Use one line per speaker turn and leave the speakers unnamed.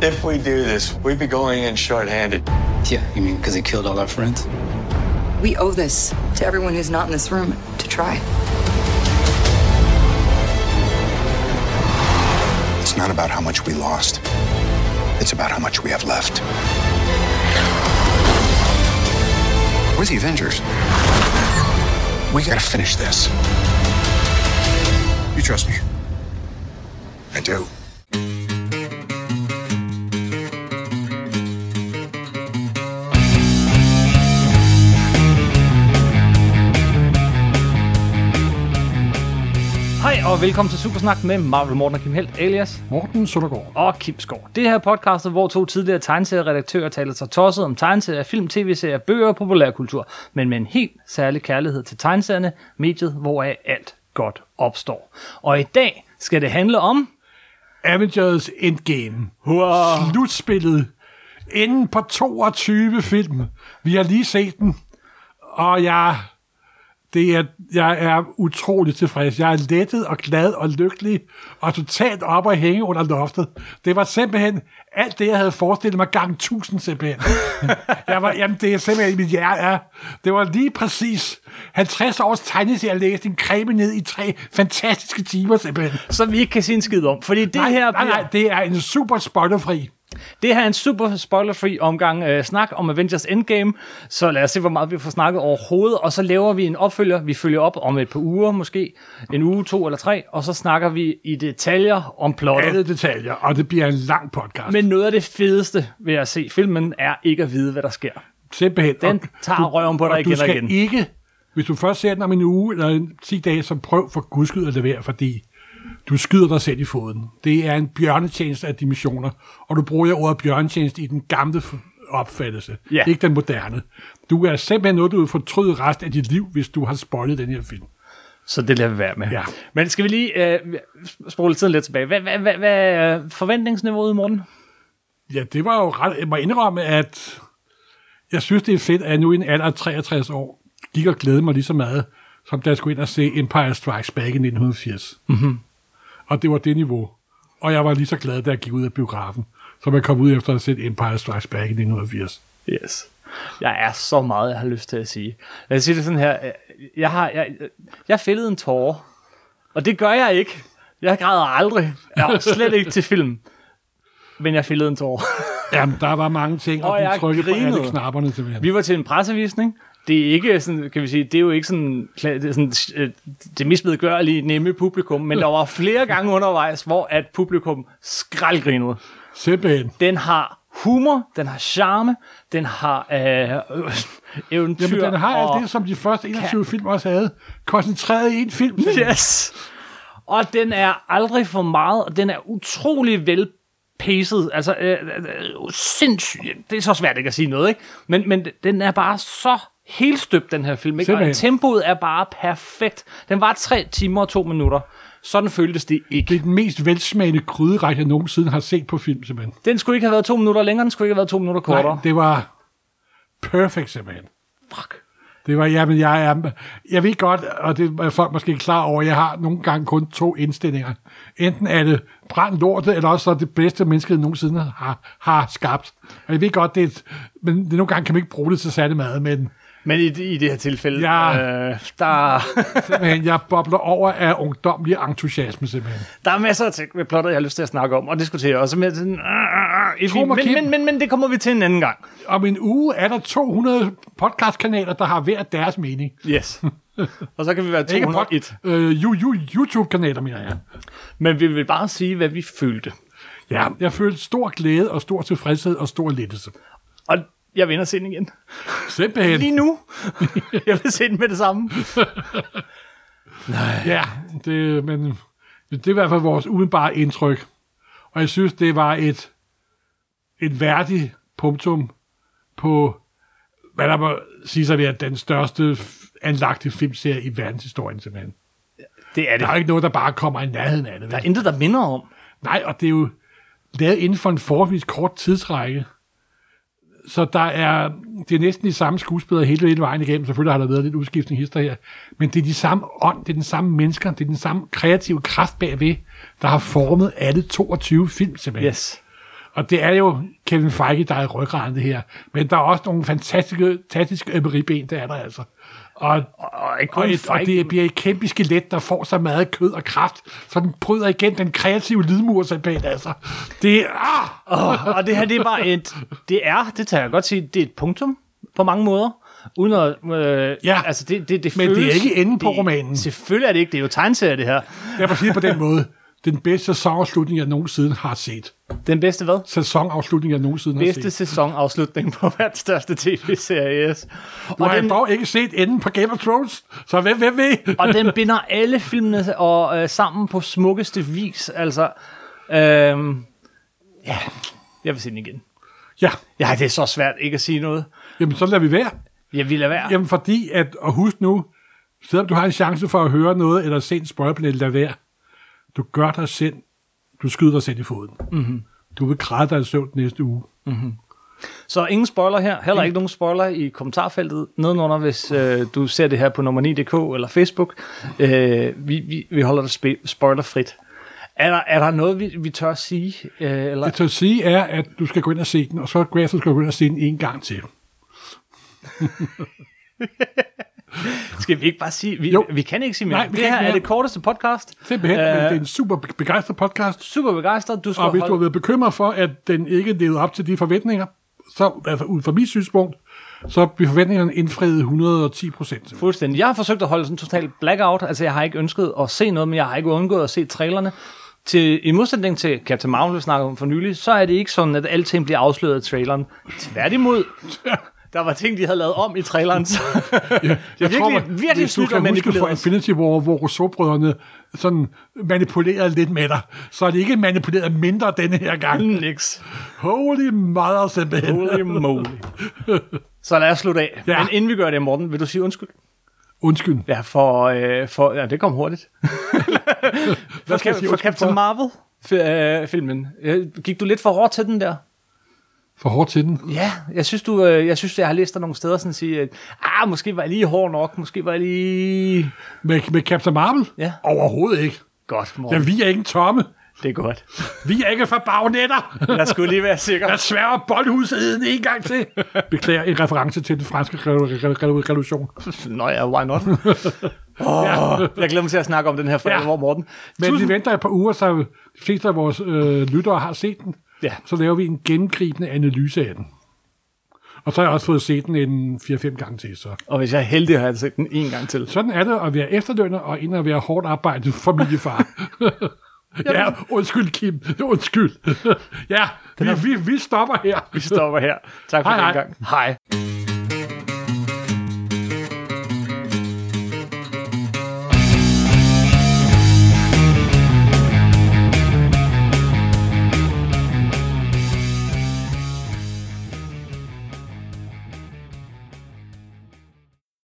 If we do this, we'd be going in shorthanded.
Yeah, you mean because he killed all our friends?
We owe this to everyone who's not in this room to try.
It's not about how much we lost, it's about how much we have left. We're the Avengers. We gotta finish this. You trust me? I do.
Hej og velkommen til Supersnak med Marvel Morten og Kim Helt, alias
Morten Søndergaard.
og Kim Skov. Det her er podcastet, hvor to tidligere tegneserieredaktører taler sig tosset om tegneserier, film, tv-serier, bøger og populærkultur, men med en helt særlig kærlighed til tegneserierne, mediet, hvoraf alt godt opstår. Og i dag skal det handle om...
Avengers Endgame. Hurra. Slutspillet. Inden på 22 film. Vi har lige set den. Og jeg, det er, jeg er utrolig tilfreds. Jeg er lettet og glad og lykkelig og totalt op og hænge under loftet. Det var simpelthen alt det, jeg havde forestillet mig gang tusind simpelthen. jeg var, jamen, det er simpelthen, mit hjerte er. Det var lige præcis 50 års tegneserielæsning kræme ned i tre fantastiske timer simpelthen.
Som vi ikke kan sige en skid om, fordi det
nej,
her
nej, nej, det er en super spoilerfri.
Det her er en super spoilerfri omgang øh, snak om Avengers Endgame, så lad os se, hvor meget vi får snakket overhovedet, og så laver vi en opfølger, vi følger op om et par uger måske, en uge, to eller tre, og så snakker vi i detaljer om plottet.
Alle detaljer, og det bliver en lang podcast. Men
Men noget af det fedeste ved at se filmen er ikke at vide, hvad der sker.
simpelthen.
Den
og
tager røven på dig
og
igen
du
og
skal
igen.
ikke, hvis du først ser den om en uge eller en 10 dage, så prøv for guds skyld at levere, fordi du skyder dig selv i foden. Det er en bjørnetjeneste af dimensioner, og du bruger ordet bjørnetjeneste i den gamle f- opfattelse,
Ja.
ikke den moderne. Du er simpelthen noget, du vil fortryde resten af dit liv, hvis du har spoilet den her film.
Så det lader vi være med.
Ja.
Men skal vi lige øh, spole tiden lidt tilbage. Hvad, hvad, hvad, hvad er forventningsniveauet, Morten?
Ja, det var jo ret... Jeg må indrømme, at jeg synes, det er fedt, at jeg nu i en alder af 63 år gik og glædede mig lige så meget, som da jeg skulle ind og se Empire Strikes Back i 1980. Mm-hmm. Og det var det niveau. Og jeg var lige så glad, da jeg gik ud af biografen, som jeg kom ud efter at have set Empire Strikes Back i 1980.
Yes. Jeg er så meget, jeg har lyst til at sige. Lad os sige det sådan her. Jeg har, jeg, jeg fældede en tårer. Og det gør jeg ikke. Jeg græder aldrig. Ja, slet ikke til film. Men jeg fældede en tårer.
Jamen, der var mange ting, og,
Og jeg
du trykkede på
grinede.
alle knapperne simpelthen.
Vi var til en pressevisning. Det er ikke sådan, kan vi sige, det er jo ikke sådan, kla- det, er sådan, øh, det mest medgørlige nemme publikum, men der var flere gange undervejs, hvor at publikum skraldgrinede.
Simpelthen.
Den har humor, den har charme, den har øh, øh, eventyr.
Jamen, den har
og...
alt det, som de første 21 film også havde, koncentreret i en film. simpelthen.
Yes. Og den er aldrig for meget, og den er utrolig vel paced. Altså, øh, øh, øh, sindssygt. Det er så svært ikke at sige noget, ikke? Men, men den er bare så helt støbt, den her film. Ikke? Og
Simpelthen.
tempoet er bare perfekt. Den var 3 timer og 2 minutter. Sådan føltes det
Det
ikke.
er den mest velsmagende krydderrække, jeg nogensinde har set på film, simpelthen.
Den skulle ikke have været 2 minutter længere, den skulle ikke have været 2 minutter kortere.
Nej, det var perfekt simpelthen.
Fuck.
Det var, jamen, jeg er, jeg ved godt, og det er folk måske ikke klar over, jeg har nogle gange kun to indstillinger. Enten er det brænd lortet, eller også så er det bedste, mennesket nogensinde har, har skabt. Og jeg ved godt, det er et, men det, nogle gange kan man ikke bruge det til særlig mad, men
Men i, i det her tilfælde,
Ja.
øh, der,
simpelthen, jeg bobler over af ungdomlig entusiasme, simpelthen.
der er masser af ting ved plottet, jeg har lyst til at snakke om, og diskutere også. Men, sådan, øh, øh,
mig,
men,
Kim.
men, men, men det kommer vi til en anden gang.
Om en uge er der 200 podcastkanaler, der har hver deres mening.
Yes. Og så kan vi være
Ikke
201.
pod- øh, ju- ju- YouTube-kanaler, mener jeg.
Men vi vil bare sige, hvad vi følte.
Ja, jeg følte stor glæde og stor tilfredshed og stor lettelse.
Og jeg vender se den igen.
Simpelthen.
Lige nu. jeg vil se den med det samme.
Ja, det, men, det er i hvert fald vores umiddelbare indtryk. Og jeg synes, det var et, et værdigt punktum på, hvad der må sige sig ved, at den største f- anlagte filmserie i verdenshistorien simpelthen.
Det er det.
Der er jo ikke noget, der bare kommer i nærheden af det.
Der er
Vel?
intet, der minder om.
Nej, og det er jo lavet inden for en forholdsvis kort tidsrække. Så der er, det er næsten de samme skuespillere hele, hele vejen igennem. Selvfølgelig har der været lidt udskiftning hister her. Men det er de samme ånd, det er den samme mennesker, det er den samme kreative kraft bagved, der har formet alle 22 film simpelthen.
Yes.
Og det er jo Kevin Feige, der er i ryggraden det her. Men der er også nogle fantastiske, fantastiske øh, ribben, der er der altså. Og,
Og ikke kun
og, et, og
Feige.
det bliver et kæmpe skelet, der får så meget kød og kraft, så den bryder igen den kreative lydmur, altså. Det er... Ah!
Oh, og det her, det er bare et... Det er, det tager jeg godt sige, det er et punktum på mange måder. Uden at, øh,
Ja,
altså det, det, det
men det er
føles,
ikke enden på
det-
romanen.
Selvfølgelig er det ikke, det er jo tegneserie, det her.
Lad mig sige det på den måde. Den bedste sæsonafslutning, jeg nogensinde har set.
Den bedste hvad?
Sæsonafslutning, jeg nogensinde har
Bedste
set.
sæsonafslutning på verdens største tv-serie, yes.
Nu
Og
har
den,
jeg dog ikke set enden på Game of Thrones, så hvem, hvem ved?
og den binder alle filmene og, øh, sammen på smukkeste vis. Altså, øhm, ja, jeg vil se den igen.
Ja,
Ja, det er så svært ikke at sige noget.
jamen så lader vi være.
Jeg vil lade være.
Jamen fordi, at, og husk nu, selvom du har en chance for at høre noget, eller se en spoilerplanet, lad være. Du gør dig selv, du skyder dig selv i foden. Mm-hmm. Du vil græde dig i søvn næste uge.
Så ingen spoiler her. Heller ikke nogen spoiler i kommentarfeltet nedenunder, hvis øh, du ser det her på nummer 9.dk eller Facebook. Øh, vi, vi, vi holder det spe- spoilerfrit. Er der, er der noget, vi, vi tør sige? Øh, eller?
Det til at sige er, at du skal gå ind og se den, og så bagefter skal du gå ind og se den en gang til.
Skal vi ikke bare sige? Vi,
Jo.
vi kan ikke sige mere.
Nej, vi
det
kan
her
ikke
er
mere.
det korteste podcast.
Simpelthen, øh,
Øh,
men det er en super begejstret podcast.
Super begejstret. Du skal
Og hvis du har
holde...
været bekymret for, at den ikke levede op til de forventninger, så altså ud fra mit synspunkt, så blev forventningerne indfriet 110 procent.
Fuldstændig. Jeg har forsøgt at holde sådan en total blackout. Altså, jeg har ikke ønsket at se noget, men jeg har ikke undgået at se trailerne. Til, I modsætning til Captain Marvel, vi snakkede om for nylig, så er det ikke sådan, at alting bliver afsløret i traileren. Tværtimod, der var ting, de havde lavet om i traileren. Så
Jeg
virkelig- virkelig
hvis du
snydt og
kan huske fra
manipuleret.
Infinity War, hvor Rousseau-brødrene sådan manipulerede lidt med dig, så er det ikke manipuleret mindre denne her gang.
niks.
Holy mother, simpelthen.
Holy moly. Så lad os slutte af. Ja.
Ja.
Men inden vi gør det, Morten, vil du sige undskyld?
Undskyld.
Ja, for... Øh, for ja, det kom hurtigt. for,
skal jeg
Cap-
sige
for
undskyld
Captain
for?
Marvel-filmen. øh, Gik du lidt for hårdt til den der?
For hårdt til den.
Ja, jeg synes, du, øh, jeg synes, jeg har læst dig nogle steder, sådan sige, at ah, måske var jeg lige hård nok, måske var jeg lige...
Med, med Captain Marvel?
Ja.
Overhovedet ikke.
Godt, mor.
Ja, vi er ikke tomme.
Det er godt.
Vi er ikke fra bagnetter.
Jeg skulle lige være sikker.
Jeg sværger boldhuset en gang til. Beklager en reference til den franske re- re- re- revolution.
Nå ja, why not? Oh, jeg glæder mig til at snakke om den her fredag,
Ja.
hvor Morten...
Men
Tusind-
vi venter et par uger, så de fleste af vores øh, lyttere har set den.
Ja.
Så laver vi en gennemgribende analyse af den. Og så har jeg også fået set den en 4-5 gange til. Så.
Og hvis jeg er heldig, har jeg set den en gang til.
Sådan er det at være efterlønner og en at være hårdt arbejdende familiefar. ja, undskyld Kim. Undskyld. ja, vi, vi, vi stopper her.
Vi stopper her. Tak for
Hej,
den
hej.
gang. Hej.